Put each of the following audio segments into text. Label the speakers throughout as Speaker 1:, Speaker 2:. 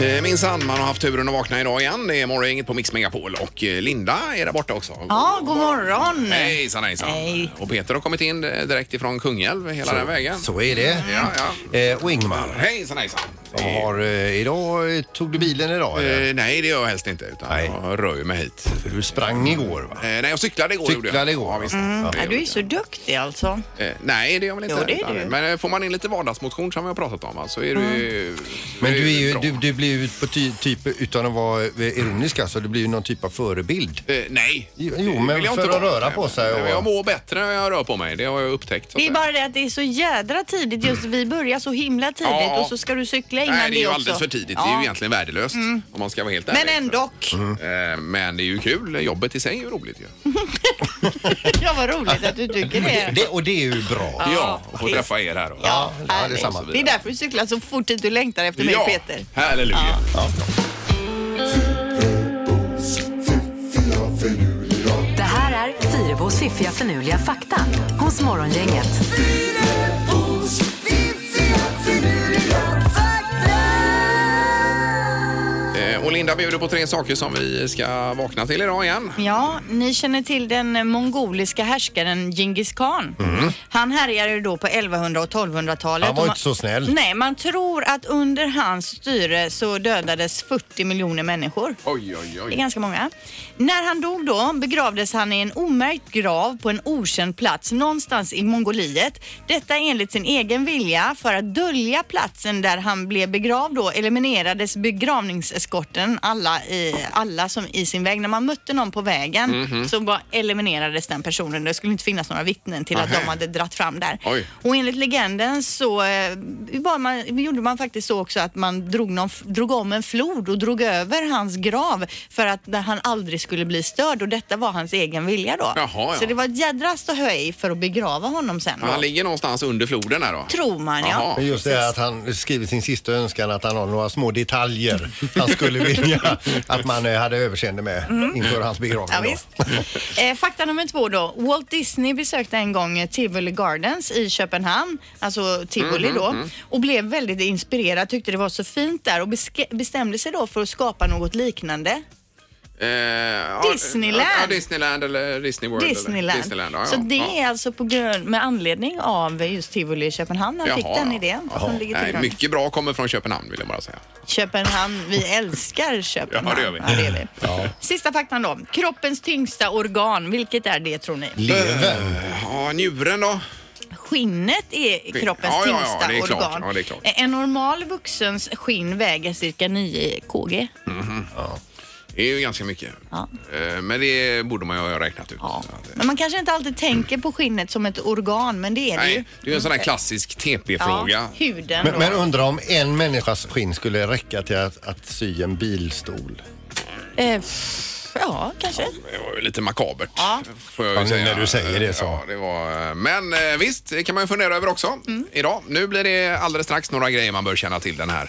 Speaker 1: Eh, minsann, man har haft turen att vakna idag igen. Det är morgongänget på Mix Megapol och eh, Linda är där borta också.
Speaker 2: Ja, god morgon!
Speaker 1: Hejsan hejsan!
Speaker 2: Hej.
Speaker 1: Och Peter har kommit in eh, direkt ifrån Kungälv hela den vägen.
Speaker 3: Så är det.
Speaker 1: Ja,
Speaker 3: Eh, och Ingmar,
Speaker 1: Hejsan hejsan!
Speaker 3: som har, eh, idag, eh, tog du bilen idag? eller?
Speaker 1: Eh, nej, det gör jag helst inte utan
Speaker 3: Nej.
Speaker 1: jag rör ju mig hit.
Speaker 3: Du sprang igår va?
Speaker 1: Eh, nej, jag cyklade igår. gjorde jag.
Speaker 3: Cyklade igår.
Speaker 1: Ja, visst.
Speaker 3: Mm.
Speaker 1: Det
Speaker 2: Ja,
Speaker 1: gör
Speaker 2: du är
Speaker 1: jag.
Speaker 2: så duktig alltså.
Speaker 1: Eh, nej, det gör jag väl inte.
Speaker 2: Jo, det är
Speaker 1: utan-
Speaker 2: du.
Speaker 1: Men eh, får man in lite vardagsmotion som vi har pratat om va, så är det
Speaker 2: Mm.
Speaker 1: ju...
Speaker 3: Men
Speaker 1: det
Speaker 3: du, är ju,
Speaker 1: bra.
Speaker 3: du, du blir ju på ty, typ, utan att vara eh, ironisk alltså, du blir ju någon typ av förebild.
Speaker 1: Eh, nej.
Speaker 3: Jo,
Speaker 1: Det
Speaker 3: men
Speaker 1: vill jag
Speaker 3: för
Speaker 1: inte
Speaker 3: att
Speaker 1: vara.
Speaker 3: röra på sig
Speaker 1: Nej,
Speaker 3: och-
Speaker 1: men Jag mår bättre när jag rör på mig, det har jag upptäckt. så att
Speaker 2: Det
Speaker 1: säga.
Speaker 2: är bara det att det är så jädra tidigt just. Vi börjar så himla tidigt
Speaker 1: Ja.
Speaker 2: och så ska du cykla innan
Speaker 1: Nej, det är ju
Speaker 2: också.
Speaker 1: alldeles för tidigt. Det är
Speaker 2: Ja. Mm.
Speaker 1: ju egentligen värdelöst om man ska vara helt
Speaker 2: Men
Speaker 1: ärlig.
Speaker 2: ändå.
Speaker 1: Eh, Men det är ju kul. Jobbet i sig är ju roligt ju.
Speaker 2: Ja, vad roligt att du tycker det.
Speaker 3: Det, och det är ju bra.
Speaker 1: Ja, och få
Speaker 2: visst.
Speaker 1: träffa er här. då.
Speaker 3: Ja, det är
Speaker 2: härligt.
Speaker 3: samma.
Speaker 2: det är därför du cyklar så fort dit du längtar efter mig,
Speaker 1: Ja,
Speaker 2: Peter.
Speaker 1: halleluja.
Speaker 4: Det här är Fyrabos fiffiga förnuliga fakta hos Morgongänget.
Speaker 1: Eh, Och Linda bjuder på tre saker som vi ska vakna till idag igen.
Speaker 2: Ja, ni känner till den mongoliska härskaren Djingis khan. Han härjade ju då på 1100 och 1200-talet.
Speaker 3: Mm. Han var
Speaker 2: Och
Speaker 3: inte så snäll.
Speaker 2: Nej, man tror att under hans styre så dödades 40 miljoner människor.
Speaker 1: Oj, oj,
Speaker 2: Det är
Speaker 1: oj.
Speaker 2: ganska många. När han dog då begravdes han i en omärkt grav på en okänd plats någonstans i Mongoliet. Detta enligt sin egen vilja för att dölja platsen där han blev begravd då eliminerades begravningseskorten alla, i, alla som i sin väg. När man mötte någon på vägen
Speaker 1: Mhm.
Speaker 2: så bara eliminerades den personen. Det skulle inte finnas några vittnen till att
Speaker 1: Nähä.
Speaker 2: de hade dratt fram där.
Speaker 1: Oj.
Speaker 2: Och enligt legenden så eh, var man, gjorde man faktiskt så också att man drog, någon, f- drog om en flod och drog över hans grav för att där han aldrig skulle bli störd och detta var hans egen vilja då.
Speaker 1: Jaha, ja.
Speaker 2: Så det var ett jädra ståhöj för att begrava honom sen
Speaker 1: Han
Speaker 2: då.
Speaker 1: ligger någonstans under floden här då.
Speaker 2: Tror man ja.
Speaker 1: Jaha.
Speaker 3: Men just det här att han skriver sin sista önskan att han har några små detaljer han skulle vilja att man eh, hade överseende med inför hans begravning.
Speaker 2: Mm. Ja,
Speaker 3: då.
Speaker 2: visst. eh, fakta nummer två då. Walt Disney besökte en gång eh, Tivoli Gardens i Köpenhamn, alltså
Speaker 1: Mm-hmm,
Speaker 2: Tivoli då, och blev väldigt inspirerad, tyckte det var så fint där och beske- bestämde sig då för att skapa något liknande.
Speaker 1: Eh, ja,
Speaker 2: Disneyland.
Speaker 1: Ja, Disneyland eller Disney World. Eller
Speaker 2: Disneyland.
Speaker 1: Disneyland ja, ja.
Speaker 2: Så det
Speaker 1: ja.
Speaker 2: är alltså på grund, med anledning av just Tivoli i Köpenhamn han
Speaker 1: Jaha,
Speaker 2: fick den
Speaker 1: ja.
Speaker 2: idén.
Speaker 1: Jaha.
Speaker 2: Som ligger till
Speaker 1: Nej,
Speaker 2: grund.
Speaker 1: mycket bra kommer från Köpenhamn vill jag bara säga.
Speaker 2: Köpenhamn, vi älskar Köpenhamn.
Speaker 1: Ja, det gör vi.
Speaker 2: det vi. Sista faktan då. Kroppens tyngsta organ, vilket är det tror ni?
Speaker 3: Levern.
Speaker 1: Eh, Ja, njuren då?
Speaker 2: Skinnet är kroppens
Speaker 1: Ja, ja, ja,
Speaker 2: tyngsta
Speaker 1: det är klart.
Speaker 2: organ.
Speaker 1: Ja, det är klart.
Speaker 2: En normal vuxens skinn väger cirka 9 kg.
Speaker 1: Mm. Det är ju ganska mycket.
Speaker 2: Ja.
Speaker 1: Eh, Men det borde man ju ha räknat ut.
Speaker 2: Ja.
Speaker 1: Så att, eh,
Speaker 2: Men man kanske inte alltid tänker på skinnet som ett organ, men det är det ju. Mm.
Speaker 1: Nej, det är ju en sån här klassisk TP-fråga.
Speaker 2: Ja, huden
Speaker 3: Men,
Speaker 2: då.
Speaker 3: men undrar om en människas skinn skulle räcka till att, att sy en bilstol.
Speaker 2: Eh, pff, ja, kanske.
Speaker 1: Det var ju lite makabert.
Speaker 2: Ja.
Speaker 1: Får jag ju
Speaker 3: Ja, nu när du säger det så.
Speaker 1: Ja, det var... Men eh, visst, det kan man ju fundera över också
Speaker 2: Mm.
Speaker 1: idag. Nu blir det alldeles strax några grejer man bör känna till den här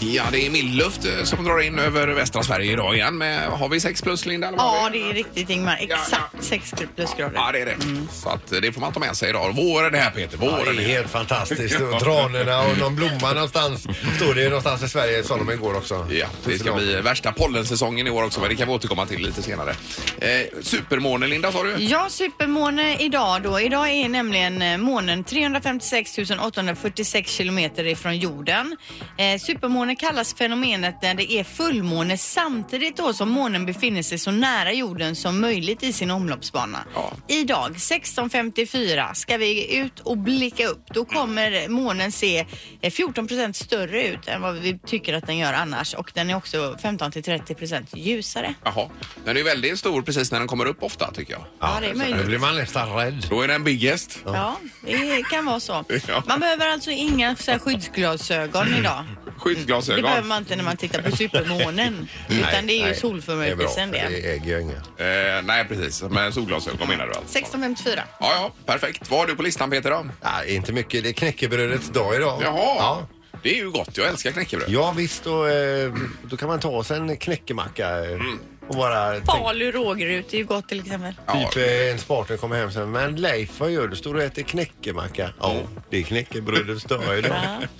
Speaker 1: Ja, det är mildluft eh, som drar in över västra Sverige idag igen. Med, har vi 6 plus, Linda? eller vad har
Speaker 2: Ja,
Speaker 1: vi?
Speaker 2: det är riktigt Ingmar.
Speaker 1: ja.
Speaker 2: Exakt 6 plusgrader.
Speaker 1: Ja, det är det.
Speaker 2: Mm.
Speaker 1: Så att, eh, det får man ta med sig idag. Vår är det här, Peter. Vår
Speaker 3: Ja,
Speaker 1: är
Speaker 3: det är
Speaker 1: det.
Speaker 3: helt fantastiskt. Och tranorna och någon blomma någonstans. Står det ju någonstans i Sverige, sa de igår också.
Speaker 1: Ja, det ska bli värsta pollensäsongen i år också, men det kan vi återkomma till lite senare. Eh, supermåne, Linda, sa du?
Speaker 2: Ja, supermåne idag då. Idag är nämligen eh, månen 356 846 kilometer ifrån jorden. Eh, supermåne kallas fenomenet när det är fullmåne samtidigt då som månen befinner sig så nära jorden som möjligt i sin omloppsbana.
Speaker 1: Ja.
Speaker 2: Idag 16.54 ska vi ut och blicka upp. Då kommer månen se eh, 14 större ut än vad vi tycker att den gör annars och den är också 15 till 30 ljusare.
Speaker 1: Jaha. Den är väldigt stor precis när den kommer upp ofta, tycker jag.
Speaker 2: Ja, det är
Speaker 3: Nu
Speaker 2: möjligt.
Speaker 3: blir man nästan rädd.
Speaker 1: Då är den biggest.
Speaker 2: Ja, det kan vara så.
Speaker 1: Ja.
Speaker 2: Man behöver alltså inga så här
Speaker 3: Mm.
Speaker 2: skyddsglasögon idag. Det
Speaker 1: Skyddsglasögon.
Speaker 2: behöver man inte när man tittar på supermånen. Utan det är ju
Speaker 3: Nej,
Speaker 2: solförmörkelsen
Speaker 3: Det är bra, för
Speaker 2: det.
Speaker 3: det äger jag inga.
Speaker 1: Eh, nej, precis. Men solglasögon menar du alltså?
Speaker 2: 16.54.
Speaker 1: Ja, ja, perfekt. Vad har du på listan, Peter? Då?
Speaker 3: Ja, inte mycket. Det är knäckebrödets dag idag.
Speaker 1: Jaha,
Speaker 3: Ja.
Speaker 1: det är ju gott. Jag älskar knäckebröd. Mm.
Speaker 3: Ja visst, då, eh, då kan man ta sig en knäckemacka eh, Och bara tänk,
Speaker 2: Falu rågryt är ju gott till exempel.
Speaker 1: Ja.
Speaker 3: typ eh, ens partner kommer hem och säger Men Leif, vad gör du? Står du och äter knäckemacka? Ja, det är knäckebrödets dag idag.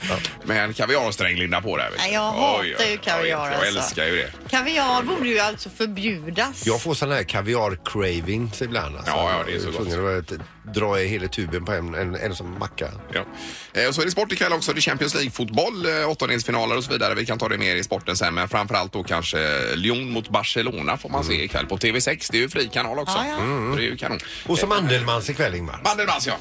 Speaker 3: Ja.
Speaker 1: Med en kaviarsträng linda på där. vet du.
Speaker 2: Nej, jag
Speaker 1: Oj,
Speaker 2: hatar
Speaker 1: oj,
Speaker 2: ju
Speaker 1: oj.
Speaker 2: kaviar,
Speaker 1: Jag
Speaker 2: alltså.
Speaker 1: älskar ju det.
Speaker 2: Kaviar borde ju alltså förbjudas.
Speaker 3: Jag får sådana här kaviar-cravings ibland. Alltså.
Speaker 1: Ja, ja, det är så
Speaker 3: Jag tvungen att eh, dra i hela tuben på en, en, en som macka.
Speaker 1: Ja. Eh, Så är det sport ikväll också. Det är Champions League-fotboll, eh, åttondelsfinaler och så vidare. Vi kan ta det mer i sporten sen, men framförallt då kanske Lyon mot Barcelona får
Speaker 3: Mm.
Speaker 1: man se ikväll på TV6. Det är ju fri kanal också.
Speaker 2: Ja, ja.
Speaker 1: Så Det är ju kanon.
Speaker 3: Och som Andelmans ikväll, Ingmar.
Speaker 1: Bandelmans, ja.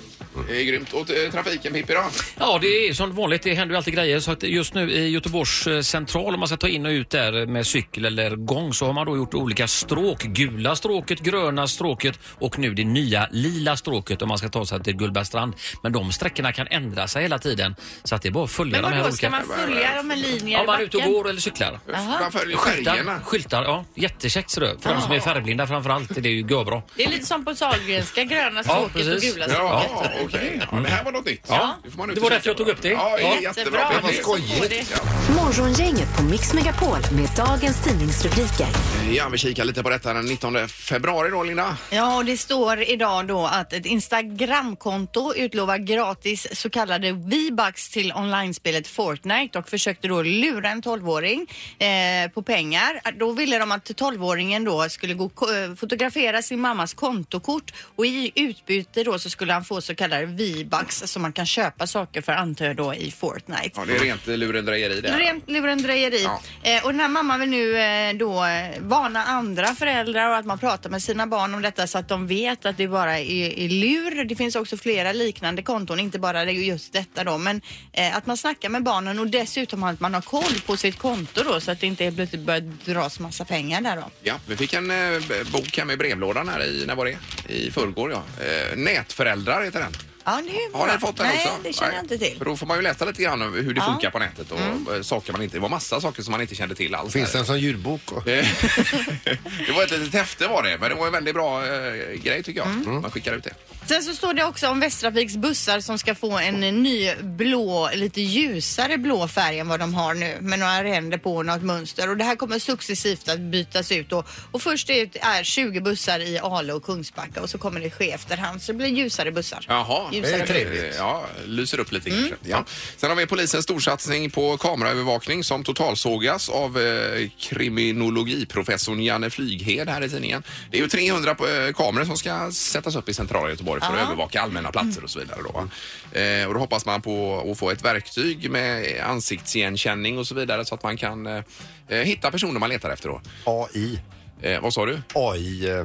Speaker 1: Det är grymt. Och eh, trafiken, Pippi då?
Speaker 5: Ja, det är som vanligt. Det händer ju alltid grejer. Så att just nu i Göteborgs eh, central, om man ska ta in och ut där med cykel eller gång, så har man då gjort olika stråk. Gula stråket, gröna stråket och nu det nya lila stråket om man ska ta sig till Gullbergstrand. Men de sträckorna kan ändra sig hela tiden. Så att det är bara att följa
Speaker 2: Men
Speaker 5: de här
Speaker 2: vadå, ska
Speaker 5: olika...
Speaker 2: man följa de här linjerna
Speaker 5: Om
Speaker 2: i
Speaker 5: man är ute och
Speaker 2: backen?
Speaker 5: går eller cyklar.
Speaker 1: Man följer
Speaker 5: Skyltar,
Speaker 1: färgerna.
Speaker 5: skyltar, ja. Jättekäckt ser du. För de som är färgblinda framförallt, det är ju görbra.
Speaker 2: Det är lite som på Sahlgrenska, gröna stråket och
Speaker 5: precis.
Speaker 2: gula stråket.
Speaker 1: Ja, okej. Ja, det här var något nytt.
Speaker 5: Ja.
Speaker 1: får man
Speaker 5: Det
Speaker 1: inte
Speaker 5: var
Speaker 1: kika
Speaker 5: därför jag
Speaker 1: på.
Speaker 5: tog upp det.
Speaker 1: Ja,
Speaker 5: Ja.
Speaker 1: jättebra.
Speaker 2: Jättebra.
Speaker 1: Det var skojigt.
Speaker 2: Ja.
Speaker 4: Morgongänget på Mix Megapol med dagens tidningsrubriker.
Speaker 1: Ja, vi kikar lite på detta den 19 februari då, Linda.
Speaker 2: Ja, och det står idag då att ett Instagramkonto utlovar gratis så kallade V-bucks till onlinespelet Fortnite och försökte då lura en 12-åring eh, på pengar. Då ville de att 12-åringen då skulle gå, eh, fotografera sin mammas kontokort och i utbyte då så skulle han få så kallade V-bucks som man kan köpa saker för antar jag då i Fortnite.
Speaker 1: Ja, det är rent lurendrejeri det. här.
Speaker 2: Rent lurendrejeri. Eh, och den här mamman vill nu eh, då eh, varna andra föräldrar och att man pratar med sina barn om detta så att de vet att det bara är, är lur. Det finns också flera liknande konton, inte bara det- just detta då, men eh, att man snackar med barnen och dessutom att man har koll på sitt konto då så att det inte helt plötsligt börjar dras massa pengar där då.
Speaker 1: Ja, vi fick en eh, b- bok hem i brevlådan här i, när var det? I förrgår ja. Eh, Nätföräldrar heter den.
Speaker 2: Ja, det är ju
Speaker 1: Har
Speaker 2: bra.
Speaker 1: ni fått den
Speaker 2: Nej,
Speaker 1: också?
Speaker 2: det känner jag inte till.
Speaker 1: För då får man ju läsa lite grann om hur det
Speaker 2: Ja.
Speaker 1: funkar på nätet och eh, saker man inte, det var massa saker som man inte kände till alls.
Speaker 3: Finns det
Speaker 1: här.
Speaker 3: en sån ljudbok?
Speaker 1: Eh, det var ett litet häfte var det, men det var en väldigt bra eh, grej tycker jag. Man skickar ut det.
Speaker 2: Sen så står det också om Västtrafiks bussar som ska få en eh, ny blå, lite ljusare blå färg än vad de har nu med några ränder på och något mönster. Och det här kommer successivt att bytas ut då. Och först ut är 20 bussar i Ale och Kungsbacka och så kommer det ske efterhand så det blir ljusare bussar.
Speaker 1: Jaha,
Speaker 2: Ljusare
Speaker 3: det är trevligt.
Speaker 1: Eh, Ja, lyser upp lite kanske. Ja. Sen har vi polisens storsatsning på kameraövervakning som totalsågas av eh, kriminologiprofessorn Janne Flyghed här i tidningen. Det är ju 300 på- eh, kameror som ska sättas upp i centrala Göteborg för att övervaka allmänna platser och så vidare. Då. va. Eh, och då hoppas man på att få ett verktyg med ansiktsigenkänning och så vidare så att man kan eh, eh, hitta personer man letar efter. Då.
Speaker 3: AI.
Speaker 1: Eh, vad sa du?
Speaker 3: AI. Eh,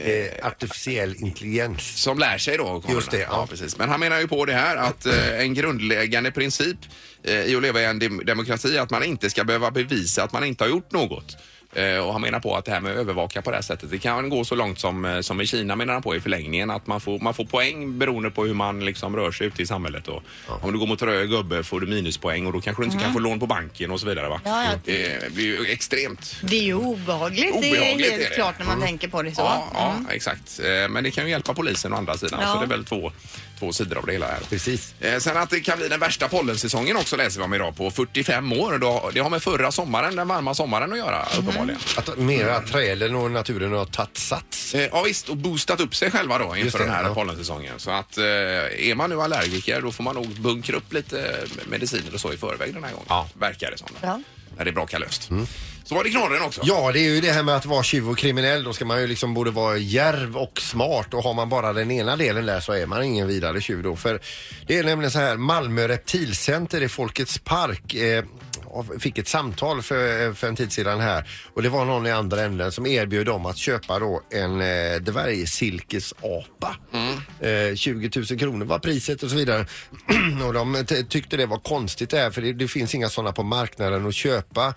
Speaker 3: eh, artificiell intelligens.
Speaker 1: som lär sig då. kamerorna.
Speaker 3: Just det, ja.
Speaker 1: precis. Men han menar ju på det här att eh, en grundläggande princip eh, i att leva i en dem- demokrati är att man inte ska behöva bevisa att man inte har gjort något. Eh, och han menar på att det här med att övervaka på det här sättet, det kan gå så långt som, eh, som i Kina menar han på i förlängningen, att man får, man får poäng beroende på hur man liksom rör sig ute i samhället. Och, Om du går mot röd gubbe får du minuspoäng och då kanske du
Speaker 3: Mm.
Speaker 1: inte kan få lån på banken och så vidare. Va? Eh,
Speaker 2: Ja, ja.
Speaker 1: Det blir ju extremt
Speaker 2: Det är ju obehagligt,
Speaker 1: Obehagligt
Speaker 2: det är
Speaker 1: är
Speaker 2: helt
Speaker 1: det. Mm.
Speaker 2: klart när man tänker på det så. Mm.
Speaker 1: Ja, ja exakt. Eh, Men det kan ju hjälpa polisen å andra sidan.
Speaker 2: Ja.
Speaker 1: Så det är väl två, två sidor av det hela här.
Speaker 3: Precis.
Speaker 1: Eh, Sen att det kan bli den värsta pollensäsongen också läser vi om idag på 45 år. Då- Det har med förra sommaren, den varma sommaren att göra
Speaker 2: Mm.
Speaker 1: uppenbarligen.
Speaker 3: Att mera träden och naturen har tagit sats.
Speaker 1: Eh, Ja visst, och boostat upp sig själva då
Speaker 3: Just
Speaker 1: inför
Speaker 3: det,
Speaker 1: den här
Speaker 3: ja.
Speaker 1: pollensäsongen. Så att eh, är man nu allergiker då får man nog bunkra upp lite eh, mediciner och så i förväg den här gången.
Speaker 3: Ja. Mm.
Speaker 1: Verkar det som. då.
Speaker 2: Ja.
Speaker 1: När det brakar löst. Så var det knorren också.
Speaker 3: Ja, det är ju det här med att vara tjuv och kriminell. Då ska man ju liksom både vara järv och smart och har man bara den ena delen där så är man ingen vidare tjuv då. För det är nämligen så här, Malmö Reptilcenter i Folkets Park eh, av- fick ett samtal för, för en tid sedan här och det var någon i andra änden som erbjöd dem att köpa då en eh, dvärgsilkesapa. Eh, 20 000 kronor var priset och så vidare. och de t- tyckte det var konstigt det här för det, det finns inga sådana på marknaden att köpa.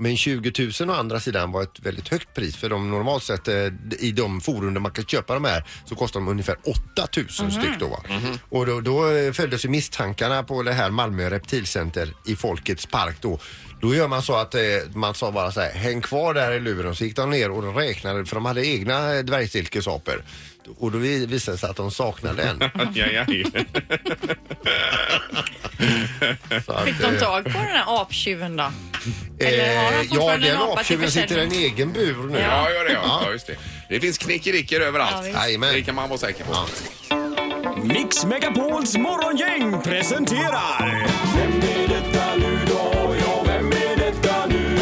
Speaker 3: Men 20 000 å andra sidan var ett väldigt högt pris för de normalt sett eh, i de forum där man kan köpa de här så kostar de ungefär 8 000
Speaker 2: Mhm.
Speaker 3: styck då. Va? Och då, då eh, föddes ju misstankarna på det här Malmö reptilcenter i Folkets park då. Då gör man så att eh, man sa bara så här, häng kvar där i luren. Så gick de ner och de räknade, för de hade egna eh, dvärgsilkesapor. Och då vi- visade det sig att de saknade en.
Speaker 1: Ajajaj.
Speaker 3: Så att,
Speaker 2: Fick de tag på den här aptjuven då?
Speaker 3: eh,
Speaker 2: Eller har han
Speaker 3: ja,
Speaker 2: fortfarande
Speaker 3: den
Speaker 2: en apa till
Speaker 3: aptjuven sitter i en
Speaker 2: försäljning?
Speaker 3: egen bur nu.
Speaker 1: Ja, gör det. Ja. Ja, just det. det finns knickerickor
Speaker 2: Ja,
Speaker 1: överallt.
Speaker 2: visst.
Speaker 3: Jajamän.
Speaker 1: det kan man vara säker på.
Speaker 6: Mix Megapols morgongäng presenterar... Vem är detta nu då? Ja, vem är detta nu?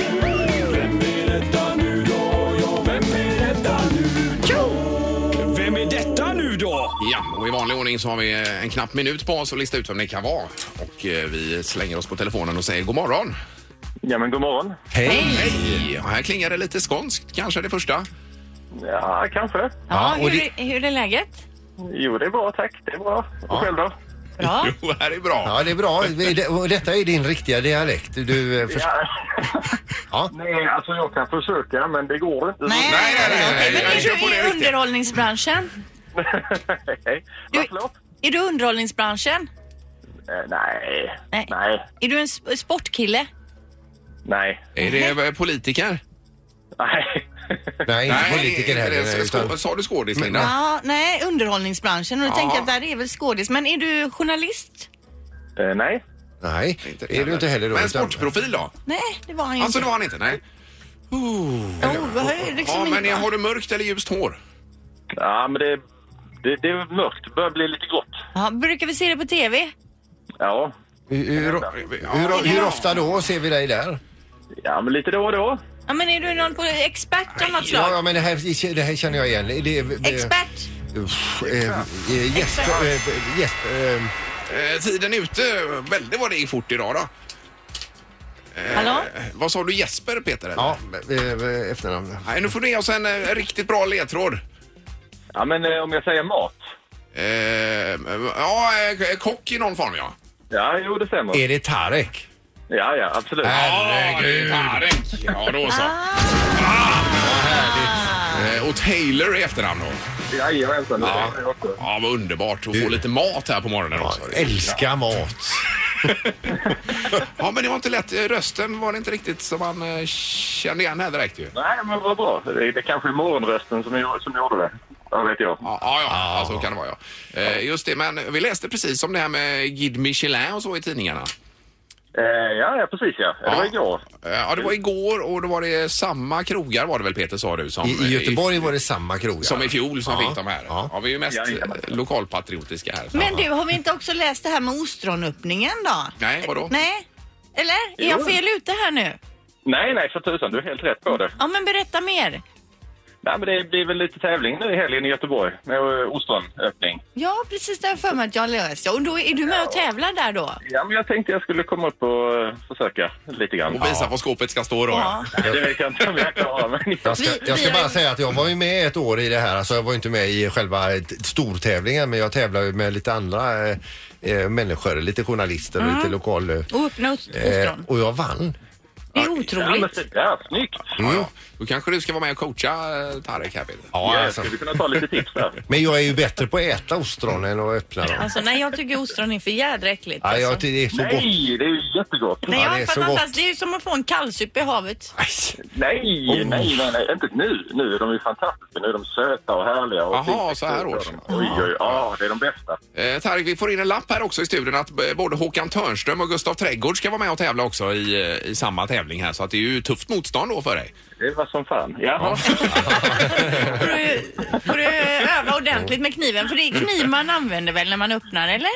Speaker 6: Vem är detta nu då? Ja, vem är detta nu då? Vem är detta nu då?
Speaker 1: Ja, och i vanlig ordning så har vi eh, en knapp minut på oss att lista ut vem det kan vara. Och eh, vi slänger oss på telefonen och säger god morgon.
Speaker 7: Ja, men god morgon.
Speaker 1: Hej! Och här klingar det lite skånskt kanske det första.
Speaker 7: Ja, kanske.
Speaker 2: Ja,
Speaker 1: och
Speaker 2: hur, är- hur är läget?
Speaker 7: Jo, det är bra, tack. Det är bra. Och själv då?
Speaker 2: Bra.
Speaker 1: Jo, här är bra.
Speaker 3: Ja, det är bra. Vi- det- och Detta är din riktiga dialekt. Du, eh, förs-
Speaker 7: Ja.
Speaker 3: Ja.
Speaker 7: Nej, alltså jag kan försöka, men det går inte.
Speaker 2: Nej,
Speaker 1: nej, nej, nej, nej,
Speaker 2: Men
Speaker 1: jag
Speaker 2: är
Speaker 1: kör på
Speaker 2: du
Speaker 1: det
Speaker 2: i
Speaker 1: riktigt.
Speaker 2: underhållningsbranschen?
Speaker 7: Nej.
Speaker 2: Du,
Speaker 7: Vad, förlåt?
Speaker 2: är du i underhållningsbranschen?
Speaker 7: Eh, Nej.
Speaker 2: Nej.
Speaker 7: Nej.
Speaker 2: Är du en sp- sportkille?
Speaker 7: Nej.
Speaker 1: Är det eh, politiker?
Speaker 7: Nej.
Speaker 3: Nej, inte politiker
Speaker 1: inte det.
Speaker 3: heller.
Speaker 1: Skå-
Speaker 3: utan-
Speaker 1: Sa du skådis, Linda?
Speaker 2: Ja, nej, underhållningsbranschen. Och då
Speaker 1: Ja.
Speaker 2: tänker jag att där är väl skådis. Men är du journalist?
Speaker 7: Eh, Nej.
Speaker 3: Nej, det är du inte heller. Då,
Speaker 1: Men
Speaker 3: utan-
Speaker 1: sportprofil då?
Speaker 2: Nej, det var han ju
Speaker 1: Alltså, det
Speaker 2: inte.
Speaker 1: var han inte. Nej.
Speaker 2: Oh, vad är det liksom
Speaker 1: Ja, men
Speaker 2: inte-
Speaker 1: har du mörkt eller ljust hår?
Speaker 7: Ja, men det, det, det är mörkt. Det börjar bli lite grått.
Speaker 2: ja, brukar vi se det på TV?
Speaker 7: Ja.
Speaker 3: Hur, hur,
Speaker 1: Ja,
Speaker 3: hur, hur ofta då ser vi dig där?
Speaker 7: Ja, men lite då och då.
Speaker 2: Ja, men är du någon på expert av något
Speaker 3: Ja,
Speaker 2: slag?
Speaker 3: ja men det här, det här känner jag igen. Det, det,
Speaker 2: Expert?
Speaker 3: Uff, eh, eh, Jesper... eh, Jesper, eh,
Speaker 1: eh, tiden är ute. Väldigt vad det gick fort idag då.
Speaker 2: Hallå?
Speaker 1: Eh, Vad sa du Jesper, Peter? Eller?
Speaker 3: Ja, eh, efternamn.
Speaker 1: Nej, nu får du ge oss en eh, riktigt bra ledtråd.
Speaker 7: Ja, men eh, om jag säger mat.
Speaker 1: Eh, ja, eh, kock i någon form, ja.
Speaker 7: Ja, jo, det stämmer.
Speaker 3: Är det Tarek?
Speaker 7: Ja, ja, absolut.
Speaker 1: Äh. Herregud! Ja, då så.
Speaker 3: Ah.
Speaker 1: Eh, Och Taylor i efternamn då.
Speaker 7: Jajamensan, det stämmer jag också.
Speaker 1: Ja, vad underbart att få lite mat här på morgonen också.
Speaker 3: Älskar mat.
Speaker 1: Ja, men det var inte lätt. Eh, Rösten var det inte riktigt som man eh, kände igen här direkt ju.
Speaker 7: Nej, men vad bra. Det, det kanske är morgonrösten som, jag, som gjorde det. Ja, vet jag.
Speaker 1: Ja, ja,
Speaker 3: Ah.
Speaker 1: ja, så kan det vara ja. Eh, Just det, men vi läste precis om det här med Guide Michelin och så i tidningarna.
Speaker 7: Eh, ja, ja, precis ja. Det var igår.
Speaker 1: Eh, Ja, det var igår och då var det samma krogar var det väl Peter sa du? Som,
Speaker 3: I, i Göteborg var det samma krogar.
Speaker 1: Som i fjol som
Speaker 3: Ja,
Speaker 1: fick de här. Ja.
Speaker 3: ja.
Speaker 1: vi är ju mest eh,
Speaker 7: Jajamän.
Speaker 1: lokalpatriotiska här.
Speaker 2: Men du, har vi inte också läst det här med ostronöppningen då?
Speaker 1: Nej, vadå?
Speaker 2: Nej? Eller? Är jag
Speaker 7: Jo.
Speaker 2: fel ute här nu?
Speaker 7: Nej, nej, för tusan. Du är helt rätt på det.
Speaker 2: Ja, men berätta mer.
Speaker 7: Nej, men det blir väl lite tävling nu i helgen i Göteborg med eh, ostronöppning.
Speaker 2: Ja, precis det har jag för mig att jag läste. Och då är du med och tävlar där då?
Speaker 7: Ja, men jag tänkte jag skulle komma upp och eh, försöka lite grann.
Speaker 1: Och visa var skåpet ska stå då.
Speaker 2: Ja.
Speaker 7: Ja, det vet jag inte om jag klarar, men...
Speaker 3: Jag ska,
Speaker 2: Vi-
Speaker 3: jag ska
Speaker 2: vi-
Speaker 3: bara säga att jag var ju med ett år i det här. Alltså jag var ju inte med i själva eh, t- stortävlingen men jag tävlade ju med lite andra eh, eh, människor, lite journalister och lite lokal... eh,
Speaker 2: Och öppna ost-
Speaker 3: Eh,
Speaker 2: Mm. ostron.
Speaker 3: och jag vann.
Speaker 2: Det är
Speaker 7: Ja, men
Speaker 2: otroligt.
Speaker 7: se där, snyggt!
Speaker 1: Ja, ja. Då kanske du ska vara med och coacha eh, Tarek här Peter.
Speaker 7: Ja,
Speaker 3: Ja,
Speaker 7: jag
Speaker 3: alltså.
Speaker 7: skulle kunna ta lite tips där.
Speaker 3: Men jag är ju bättre på att äta ostron än att öppna dem.
Speaker 2: Alltså, nej, jag tycker ostron är för jädra äckligt.
Speaker 3: Ja, jag,
Speaker 2: alltså.
Speaker 3: det är så gott.
Speaker 7: Nej, det är ju jättegott!
Speaker 2: Nej,
Speaker 3: Ja,
Speaker 2: jag
Speaker 3: det är
Speaker 2: fattar
Speaker 3: så
Speaker 2: inte
Speaker 3: gott.
Speaker 2: alls. Det är ju som att få en kallsup i havet.
Speaker 7: Nej,
Speaker 1: Oh.
Speaker 7: nej, nej, nej, inte nu. Nu är de ju fantastiska. Nu är de söta och härliga. Och
Speaker 1: Jaha,
Speaker 7: fint.
Speaker 1: så här års.
Speaker 7: Oj, oj, ja, det är de bästa.
Speaker 1: Eh, Tarek, vi får in en lapp här också i studion att eh, både Håkan Törnström och Gustav Trädgård ska vara med och tävla också i, eh, i samma tävling här. Så att det är ju tufft motstånd då för dig.
Speaker 7: Det var som fan. Jaha.
Speaker 2: Får du, får du öva ordentligt med kniven? För det är kniv man använder väl när man öppnar, eller?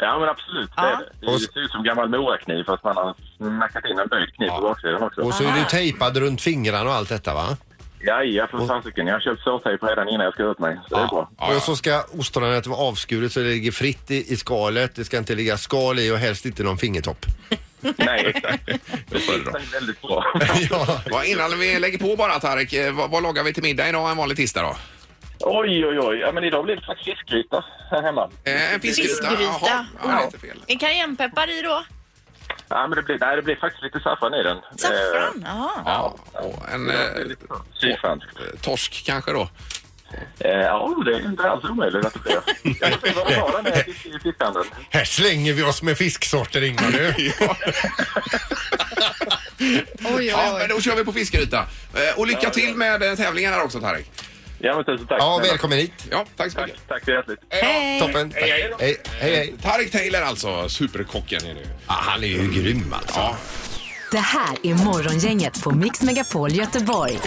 Speaker 7: Ja, men absolut.
Speaker 2: Ja.
Speaker 7: Det, är det. det ser ut som gammal morakniv fast man har smackat in en böjd kniv på baksidan också.
Speaker 3: Och så är du tejpad runt fingrarna och allt detta va?
Speaker 7: Ja, ja, för fasiken. Jag har köpt sårtejp redan innan jag ska ut mig. Så det är bra.
Speaker 1: Ja, ja.
Speaker 3: Och så ska ostronet vara avskuret så det ligger fritt i, i skalet. Det ska inte ligga skal i och helst inte någon fingertopp.
Speaker 7: Nej, exakt.
Speaker 1: Då får du
Speaker 7: Det
Speaker 1: då.
Speaker 7: är väldigt bra.
Speaker 3: ja.
Speaker 1: Ja, innan vi lägger på bara Tarek, eh, vad, vad lagar vi till middag idag en vanlig tisdag då?
Speaker 7: Oj, oj, oj. Ja, men idag blir det faktiskt fiskgryta här hemma.
Speaker 1: Eh, en fiskgryta.
Speaker 2: Fiskgryta.
Speaker 1: Jaha. Ja, det är inte fel.
Speaker 2: Är cayennepeppar i då?
Speaker 7: Ja, men det blir, nej, det blir faktiskt lite saffran i den.
Speaker 2: Saffran? Jaha.
Speaker 1: Ja, och en eh,
Speaker 7: Eh, Sydfransk.
Speaker 1: torsk kanske då.
Speaker 7: Eh, ja, det är inte alls omöjligt att det sker. Jag får se vad de har den här fisk- i fiskhandeln.
Speaker 3: Här slänger vi oss med fisksorter Ingmar nu.
Speaker 2: Oj, oj,
Speaker 1: Ja, men
Speaker 2: oj.
Speaker 1: då kör vi på fiskruta. Eh, Och lycka till med eh, tävlingen här också Tarek.
Speaker 7: Ja, men tusen tack.
Speaker 3: Ja, välkommen hit.
Speaker 1: Ja, tack så
Speaker 7: Tack,
Speaker 1: mycket.
Speaker 7: tack så hjärtligt.
Speaker 2: Hej.
Speaker 3: Toppen.
Speaker 1: Hej, hej.
Speaker 3: Hej, hej, hej.
Speaker 1: Tarek Taylor alltså, superkocken är det ju.
Speaker 3: Ah, han är ju grym alltså.
Speaker 1: Ja.
Speaker 4: Det här är Morgongänget på Mix Megapol Göteborg.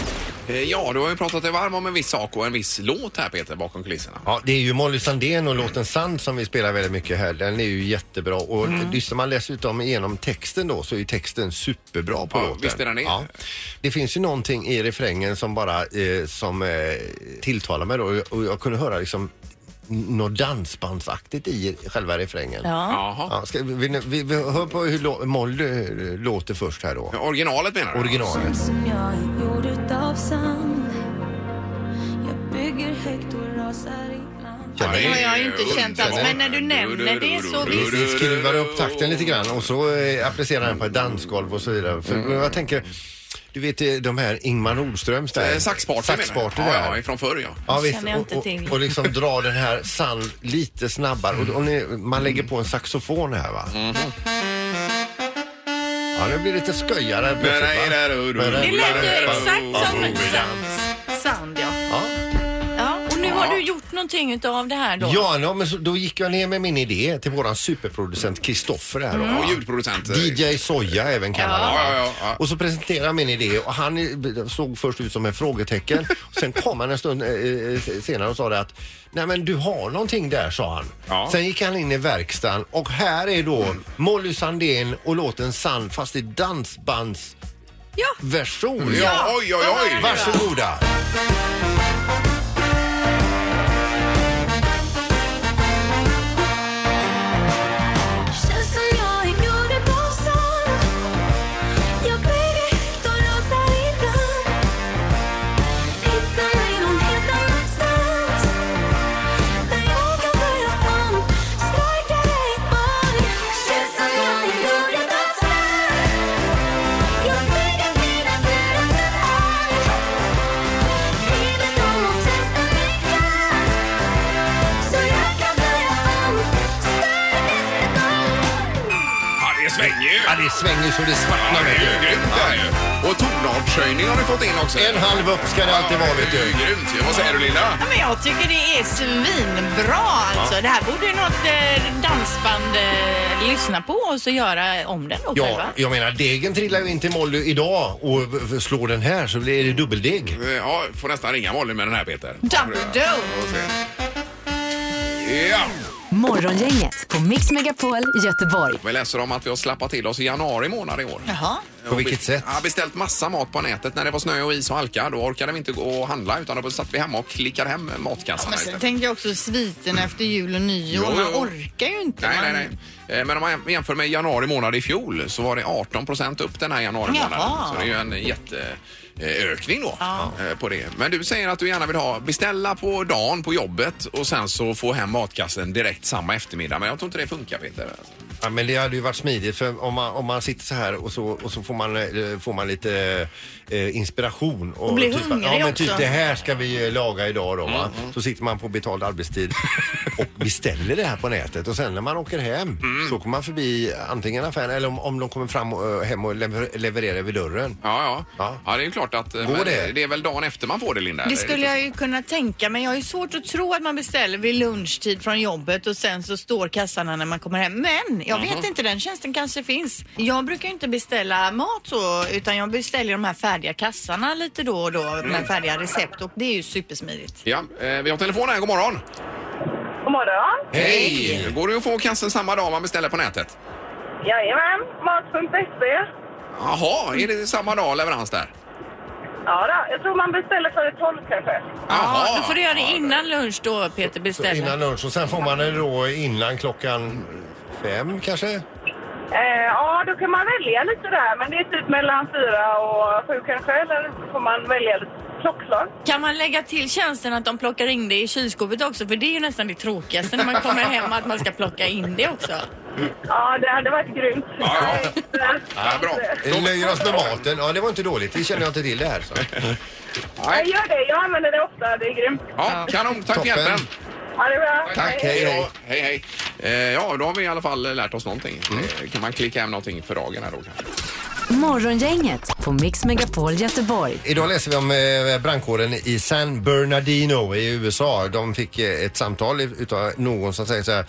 Speaker 1: Eh, Ja, du har ju pratat dig varm om en viss sak och en viss låt här Peter, bakom kulisserna.
Speaker 3: Ja, det är ju Molly Sandén och låten Sand som vi spelar väldigt mycket här. Den är ju jättebra och
Speaker 1: Mm.
Speaker 3: lyssnar man dessutom igenom texten då så är ju texten superbra på
Speaker 1: Ja,
Speaker 3: låten.
Speaker 1: visst är den det.
Speaker 3: Ja. Det finns ju någonting i refrängen som bara eh, som, eh, tilltalar mig då och jag, och jag kunde höra liksom något dansbandsaktigt i själva refrängen.
Speaker 2: Ja.
Speaker 1: Jaha.
Speaker 3: Ja, ska, vi, vi, vi hör på hur lå- Molly eh, låter först här då.
Speaker 1: Originalet menar du?
Speaker 3: Originalet.
Speaker 8: Som jag är gjord utav sand Jag bygger högt och rasar ibland
Speaker 1: Ja, det
Speaker 2: Det
Speaker 1: är
Speaker 2: har jag inte
Speaker 1: underbart.
Speaker 2: känt alls, men när du nämner det så
Speaker 3: Vi-
Speaker 2: visst.
Speaker 3: Vi skruvar upp takten lite grann och så eh, applicerar den på ett dansgolv och så vidare. För
Speaker 1: Mm.
Speaker 3: jag tänker, du vet eh, de här Ingmar Nordströms där.
Speaker 1: Eh, Saxparty
Speaker 3: Saxparty
Speaker 1: menar du?
Speaker 3: där.
Speaker 1: Ja, ja, ifrån förr ja.
Speaker 3: Ja, visst.
Speaker 2: Känner jag inte
Speaker 3: Och,
Speaker 2: till.
Speaker 3: och, och liksom dra den här sand lite snabbare. Och, och ni, man lägger på en saxofon här va?
Speaker 1: Mm.
Speaker 3: Ja, nu blir det lite sköjare här plötsligt, va?
Speaker 2: Det lät ju exakt som
Speaker 1: Ja.
Speaker 2: sand- sand. Ja.
Speaker 3: Ja.
Speaker 2: Ja, och nu har du gjort någonting utav det här då.
Speaker 3: Ja, ja, men så, då gick jag ner med min idé till våran superproducent Kristoffer här då.
Speaker 1: Och ljudproducent. eh,
Speaker 3: DJ Soja även kallad.
Speaker 1: Ja,
Speaker 3: va?
Speaker 1: ja, ja, ja.
Speaker 3: Och så presenterade han min idé och han eh, såg först ut som en frågetecken. Och sen kom han en stund eh, eh, senare och sa det att Nej men du har någonting där sa han.
Speaker 1: Ja.
Speaker 3: Sen gick han in i verkstaden och här är då Molly Sandén och låten Sand fast i dansbandsversion.
Speaker 2: Ja.
Speaker 1: Ja, oj, oj, oj.
Speaker 3: Varsågoda!
Speaker 8: Känns som jag är gjord utav sand Jag bygger högt och rasar ibland Hittar mig någon helt annanstans Där jag kan börja om Starkare än Känns som jag är gjord utav sand Jag bygger mina murar med allt Livet om och testar mig fram Så jag kan börja om Starkare än
Speaker 1: Ja, det svänger ju.
Speaker 3: Ja, det svänger så det
Speaker 1: Ja,
Speaker 3: svartnar
Speaker 1: det
Speaker 3: vet
Speaker 1: är ju
Speaker 3: du.
Speaker 1: grymt det är ju. Och tonartshöjning har du fått in också.
Speaker 3: En halv upp ska det alltid vara vet
Speaker 1: Det är ju
Speaker 3: du.
Speaker 1: grymt ju. Vad säger du Linda?
Speaker 2: Ja, men jag tycker det är svinbra alltså. Det här borde ju något eh, dansband eh, lyssna på och så göra om den då
Speaker 3: Ja,
Speaker 2: själva.
Speaker 3: jag menar degen trillar ju in till Molly idag och eh, slår den här så blir det dubbeldeg.
Speaker 1: Eh, Ja, får nästan ringa Molly med den här Peter.
Speaker 2: Double dough.
Speaker 1: Får se. Ja,
Speaker 4: Morgongänget på Mix Megapol Göteborg.
Speaker 1: vi läser om att vi har slappat till oss i januari månad i år.
Speaker 2: Jaha.
Speaker 3: På vilket sätt?
Speaker 1: Ja, beställt massa mat på nätet. När det var snö och is och halka då orkade vi inte gå och handla utan då satt vi hemma och klickade hem matkassan.
Speaker 2: Men sen
Speaker 1: istället.
Speaker 2: tänker jag också sviten efter jul och nyår.
Speaker 1: Jo,
Speaker 2: Man
Speaker 1: jo.
Speaker 2: orkar ju inte.
Speaker 1: Nej,
Speaker 2: man...
Speaker 1: nej, nej. Eh, Men om man jämför med januari månad i fjol så var det 18 procent upp den här januari månaden.
Speaker 2: Jaha.
Speaker 1: Så det är ju en jätteökning då eh, på det. Men du säger att du gärna vill ha beställa på dagen på jobbet och sen så få hem matkassen direkt samma eftermiddag. Men jag tror inte det funkar Peter.
Speaker 3: Ja, men det hade ju varit smidigt för om man, om man sitter så här och så, och så får, man, eh, får man lite eh, inspiration. Och,
Speaker 2: blir
Speaker 3: typ,
Speaker 2: hungrig
Speaker 3: Ja men typ
Speaker 2: också. Mm,
Speaker 3: det här ska vi eh, laga idag då va. Så sitter man på betald arbetstid och beställer det här på nätet och sen när man åker hem
Speaker 2: Mm.
Speaker 3: så kommer man förbi antingen affären eller om, om de kommer fram och, eh, hem och lever, levererar vid dörren.
Speaker 1: Ja, ja. ja.
Speaker 3: Ja.
Speaker 1: det är ju klart att eh,
Speaker 3: Går
Speaker 1: men
Speaker 3: det?
Speaker 1: det är väl dagen efter man får det Linda?
Speaker 2: Det
Speaker 1: eller?
Speaker 2: skulle jag ju kunna tänka men jag har ju svårt att tro att man beställer vid lunchtid från jobbet och sen så står kassarna när man kommer hem. Men jag vet inte, den tjänsten kanske finns. Jag brukar ju inte beställa mat så utan jag beställer de här färdiga kassarna lite då och då med färdiga recept och det är ju supersmidigt.
Speaker 1: Ja, eh, vi har telefon här. God morgon!
Speaker 9: God morgon.
Speaker 1: Hej! Går det att få kassen samma dag man beställer på nätet?
Speaker 9: Jajamän, mat.se.
Speaker 1: Jaha, är det samma dag leverans där?
Speaker 9: Ja, då. jag tror man beställer före tolv kanske.
Speaker 2: Ja, då får du göra det innan lunch då Peter
Speaker 3: Så
Speaker 2: beställer.
Speaker 3: innan lunch och sen får man det då innan klockan fem kanske?
Speaker 9: Eh, ja, då kan man välja lite där, men det är typ mellan fyra och sju kanske, eller så får man välja lite klockslag.
Speaker 2: Kan man lägga till tjänsten att de plockar in det i kylskåpet också? För det är ju nästan det tråkigaste när man kommer hem att man ska plocka in det också.
Speaker 9: Ja, det hade varit grymt. Eh,
Speaker 1: Ja,
Speaker 9: ja.
Speaker 1: Ja, bra.
Speaker 3: Vi nöjer oss med maten. Ja, det var inte dåligt. Det känner jag inte till det här. Så.
Speaker 9: Jag gör det. Jag använder det ofta. Det är grymt.
Speaker 1: Ja, kanon. Tack för
Speaker 3: Toppen.
Speaker 1: hjälpen.
Speaker 9: Ha det bra.
Speaker 3: Tack,
Speaker 1: Hej,
Speaker 3: hej.
Speaker 1: då. hej. hej. Eh, ja, då har vi i alla fall lärt oss någonting. Eh, kan man klicka hem någonting för dagen här då kanske?
Speaker 4: Morgongänget på Mix Megapol Göteborg.
Speaker 3: Idag läser vi om eh, brandkåren i San Bernardino i USA. De fick eh, ett samtal i- utav någon som säger så här.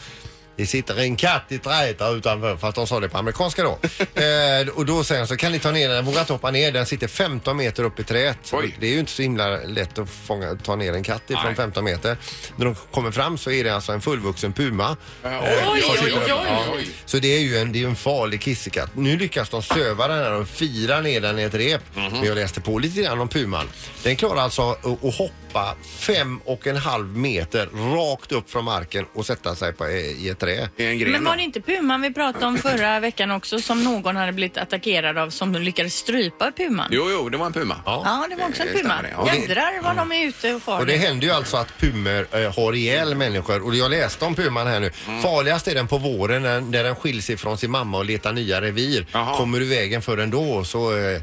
Speaker 3: Det sitter en katt i trädet där utanför, fast de sa det på amerikanska då. eh, och då säger han så, kan ni ta ner den? Jag vågar inte hoppa ner, den sitter 15 meter upp i trädet.
Speaker 1: Oj.
Speaker 3: Det är ju inte så himla lätt att fånga, ta ner en katt ifrån
Speaker 1: Nej.
Speaker 3: 15 meter. När de kommer fram så är det alltså en fullvuxen puma.
Speaker 1: Eh,
Speaker 5: oj,
Speaker 1: jag sitter
Speaker 5: oj,
Speaker 1: uppe.
Speaker 5: oj.
Speaker 1: Ja, oj.
Speaker 3: Så det är ju en, det är ju en farlig kissekatt. Nu lyckas de söva den här och fira ner den i ett rep. Men jag läste på lite grann om puman. Den klarar alltså att, att hoppa fem och en halv meter rakt upp från marken och sätta sig på, eh, i ett trä.
Speaker 1: Det är en
Speaker 2: Men
Speaker 1: gren
Speaker 2: var
Speaker 1: då.
Speaker 2: det inte puman vi pratade om förra veckan också som någon hade blivit attackerad av som lyckades strypa puman?
Speaker 1: Jo, jo, det var en puma.
Speaker 2: Ja, det var också en
Speaker 1: Det stämmer
Speaker 2: puma.
Speaker 1: det. Ja, det-
Speaker 2: Jädrar vad de är ute och far.
Speaker 3: Och det händer ju alltså att pumor eh, har ihjäl människor och jag läste om puman här nu. Farligast är den på våren när, när den skiljs ifrån sin mamma och letar nya revir.
Speaker 1: Jaha.
Speaker 3: Kommer du vägen för den då så, eh,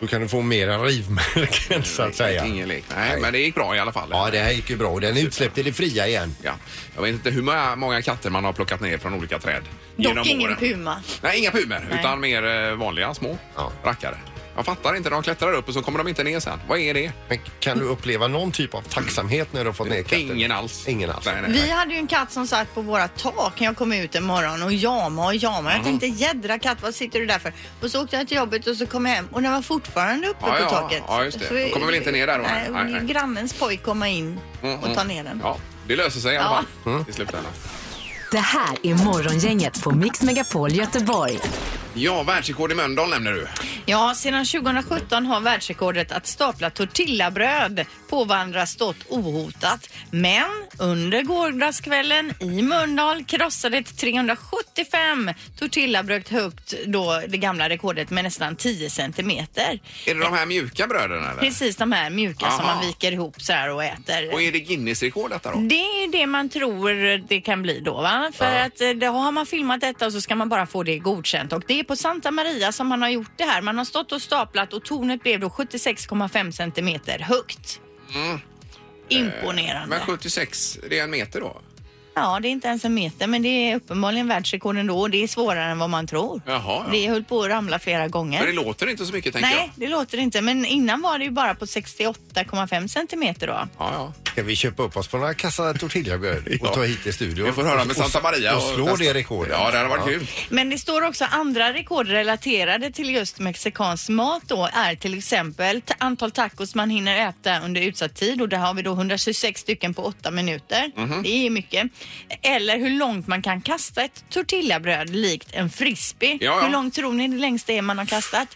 Speaker 3: så kan du få mera rivmärken så att säga.
Speaker 1: Ingen lek. Nej, men det gick bra i alla fall.
Speaker 3: Ja, det här gick ju bra och den är utsläppt i det fria igen.
Speaker 1: Ja. Jag vet inte hur många, många katter man har plockat ner från olika träd. genom
Speaker 2: Dock ingen
Speaker 1: åren.
Speaker 2: puma.
Speaker 1: Nej, inga pumer,
Speaker 2: Nej.
Speaker 1: utan mer eh, vanliga små
Speaker 3: Ja.
Speaker 1: rackare. Jag fattar inte, de klättrar upp och så kommer de inte ner sen. Vad är det?
Speaker 3: Men kan du uppleva någon typ av tacksamhet när du har fått ner katten?
Speaker 1: Ingen alls.
Speaker 3: Ingen alls.
Speaker 1: Nej, nej, nej.
Speaker 2: Vi hade ju en katt som satt på våra tak när jag kom ut en morgon och jama och jama. Jag
Speaker 1: Mm.
Speaker 2: tänkte jädra katt, vad sitter du där för? Och så åkte jag till jobbet och så kom jag hem och den var fortfarande uppe
Speaker 1: Ja,
Speaker 2: på
Speaker 1: ja,
Speaker 2: taket.
Speaker 1: ja, just det.
Speaker 2: Så-
Speaker 1: Den kommer väl inte ner där då?
Speaker 2: Nej,
Speaker 1: Nej, nej. Mm,
Speaker 2: grannens pojk komma in och ta ner den.
Speaker 1: Ja, det löser sig i alla
Speaker 2: Ja.
Speaker 1: fall
Speaker 3: Mm.
Speaker 1: i slutändan.
Speaker 4: Det här är Morgongänget på Mix Megapol Göteborg.
Speaker 1: Ja, världsrekord i Mölndal nämner du.
Speaker 2: Ja, sedan 2017 har världsrekordet att stapla tortillabröd på varandra stått ohotat. Men under gårdagskvällen i Mölndal krossade ett 375 tortillabröd högt då det gamla rekordet med nästan 10 centimeter.
Speaker 1: Är det de här mjuka bröderna eller?
Speaker 2: Precis de här mjuka som
Speaker 1: Aha.
Speaker 2: man viker ihop så här och äter.
Speaker 1: Och är det Guinness-rekord detta då?
Speaker 2: Det är det man tror det kan bli då. Va? För att eh, då har man filmat detta och så ska man bara få det godkänt. Och det är på Santa Maria som man har gjort det här. Man har stått och staplat och tornet blev då 76,5 centimeter högt. Imponerande.
Speaker 1: Mm. Eh, Men 76, det är en meter då?
Speaker 2: Ja, det är inte ens en meter men det är uppenbarligen världsrekord ändå. Och Det är svårare än vad man tror.
Speaker 1: Jaha, ja.
Speaker 2: Det höll på att ramla flera gånger.
Speaker 1: Men det låter inte så mycket tänker
Speaker 2: Nej,
Speaker 1: jag.
Speaker 2: det låter inte. Men innan var det ju bara på 68,5 centimeter då.
Speaker 1: Ja, ja.
Speaker 3: Ska vi köpa upp oss på några kassar tortillabröd och
Speaker 1: Ja.
Speaker 3: ta hit i studion?
Speaker 1: Vi får höra med Santa Maria.
Speaker 3: Och, och slå det rekordet.
Speaker 1: Ja, det hade varit grymt.
Speaker 2: Men det står också andra rekord relaterade till just mexikansk mat då är till exempel t- antal tacos man hinner äta under utsatt tid och där har vi då 126 stycken på 8 minuter.
Speaker 1: Mhm.
Speaker 2: Det är mycket. Eller hur långt man kan kasta ett tortillabröd likt en frisbee.
Speaker 1: Ja, ja.
Speaker 2: Hur långt tror ni det längsta är man har kastat?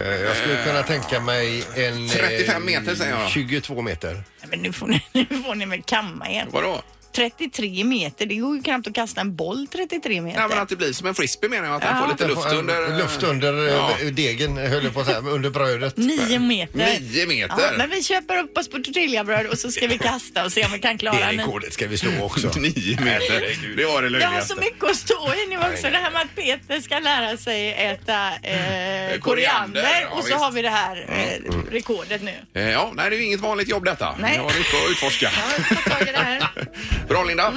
Speaker 3: Eh, Jag skulle kunna tänka mig en... eh,
Speaker 1: 35 meter, säger jag.
Speaker 3: 22 meter.
Speaker 2: Nej, Men nu får ni, nu får ni väl kamma er.
Speaker 1: Vadå?
Speaker 2: 33 meter, det går ju knappt att kasta en boll 33 meter.
Speaker 1: Nej, men att det blir som en frisbee menar jag. Att den får lite
Speaker 3: Den får
Speaker 1: luft
Speaker 3: en-
Speaker 1: under...
Speaker 3: Luft under eh,
Speaker 1: Ja.
Speaker 3: degen, höll jag på att säga, under brödet.
Speaker 2: 9 meter.
Speaker 1: Nio meter?
Speaker 2: Ja, men vi köper upp oss på tortillabröd och så ska vi kasta och se om vi kan klara
Speaker 3: Det
Speaker 2: den.
Speaker 3: rekordet ska vi slå också.
Speaker 1: Nio meter. Det var det
Speaker 2: Jag har så
Speaker 1: löjligaste.
Speaker 2: mycket att stå i nu också. Det här med att Peter ska lära sig äta eh,
Speaker 1: Koriander,
Speaker 2: koriander
Speaker 1: ja,
Speaker 2: och så
Speaker 1: visst.
Speaker 2: har vi det här eh, rekordet nu.
Speaker 1: Eh, Ja, nej, det är ju inget vanligt jobb detta.
Speaker 2: Nej.
Speaker 1: Jag har mycket att utforska.
Speaker 2: Ja, vi tar tag i det här.
Speaker 1: Bra Linda!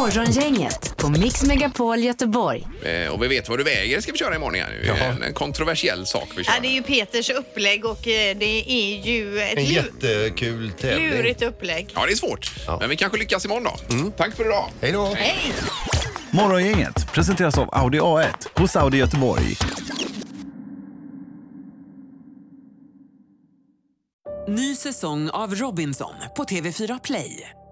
Speaker 4: Morgongänget på Mix Megapol Göteborg.
Speaker 1: Eh, och vi vet vad du väger ska vi köra imorgon igen. Det är en, en kontroversiell sak vi kör.
Speaker 2: Ja, det är ju Peters upplägg och eh, det är ju ett
Speaker 3: En
Speaker 2: lu-
Speaker 3: jättekul tävling.
Speaker 2: lurigt upplägg.
Speaker 1: Ja, det är svårt.
Speaker 3: Ja.
Speaker 1: Men vi kanske lyckas imorgon då.
Speaker 2: Mm.
Speaker 1: Tack för idag!
Speaker 3: Hej då!
Speaker 2: Hej!
Speaker 10: Morgongänget presenteras av Audi A1 hos Audi Göteborg.
Speaker 11: Ny säsong av Robinson på TV4 Play.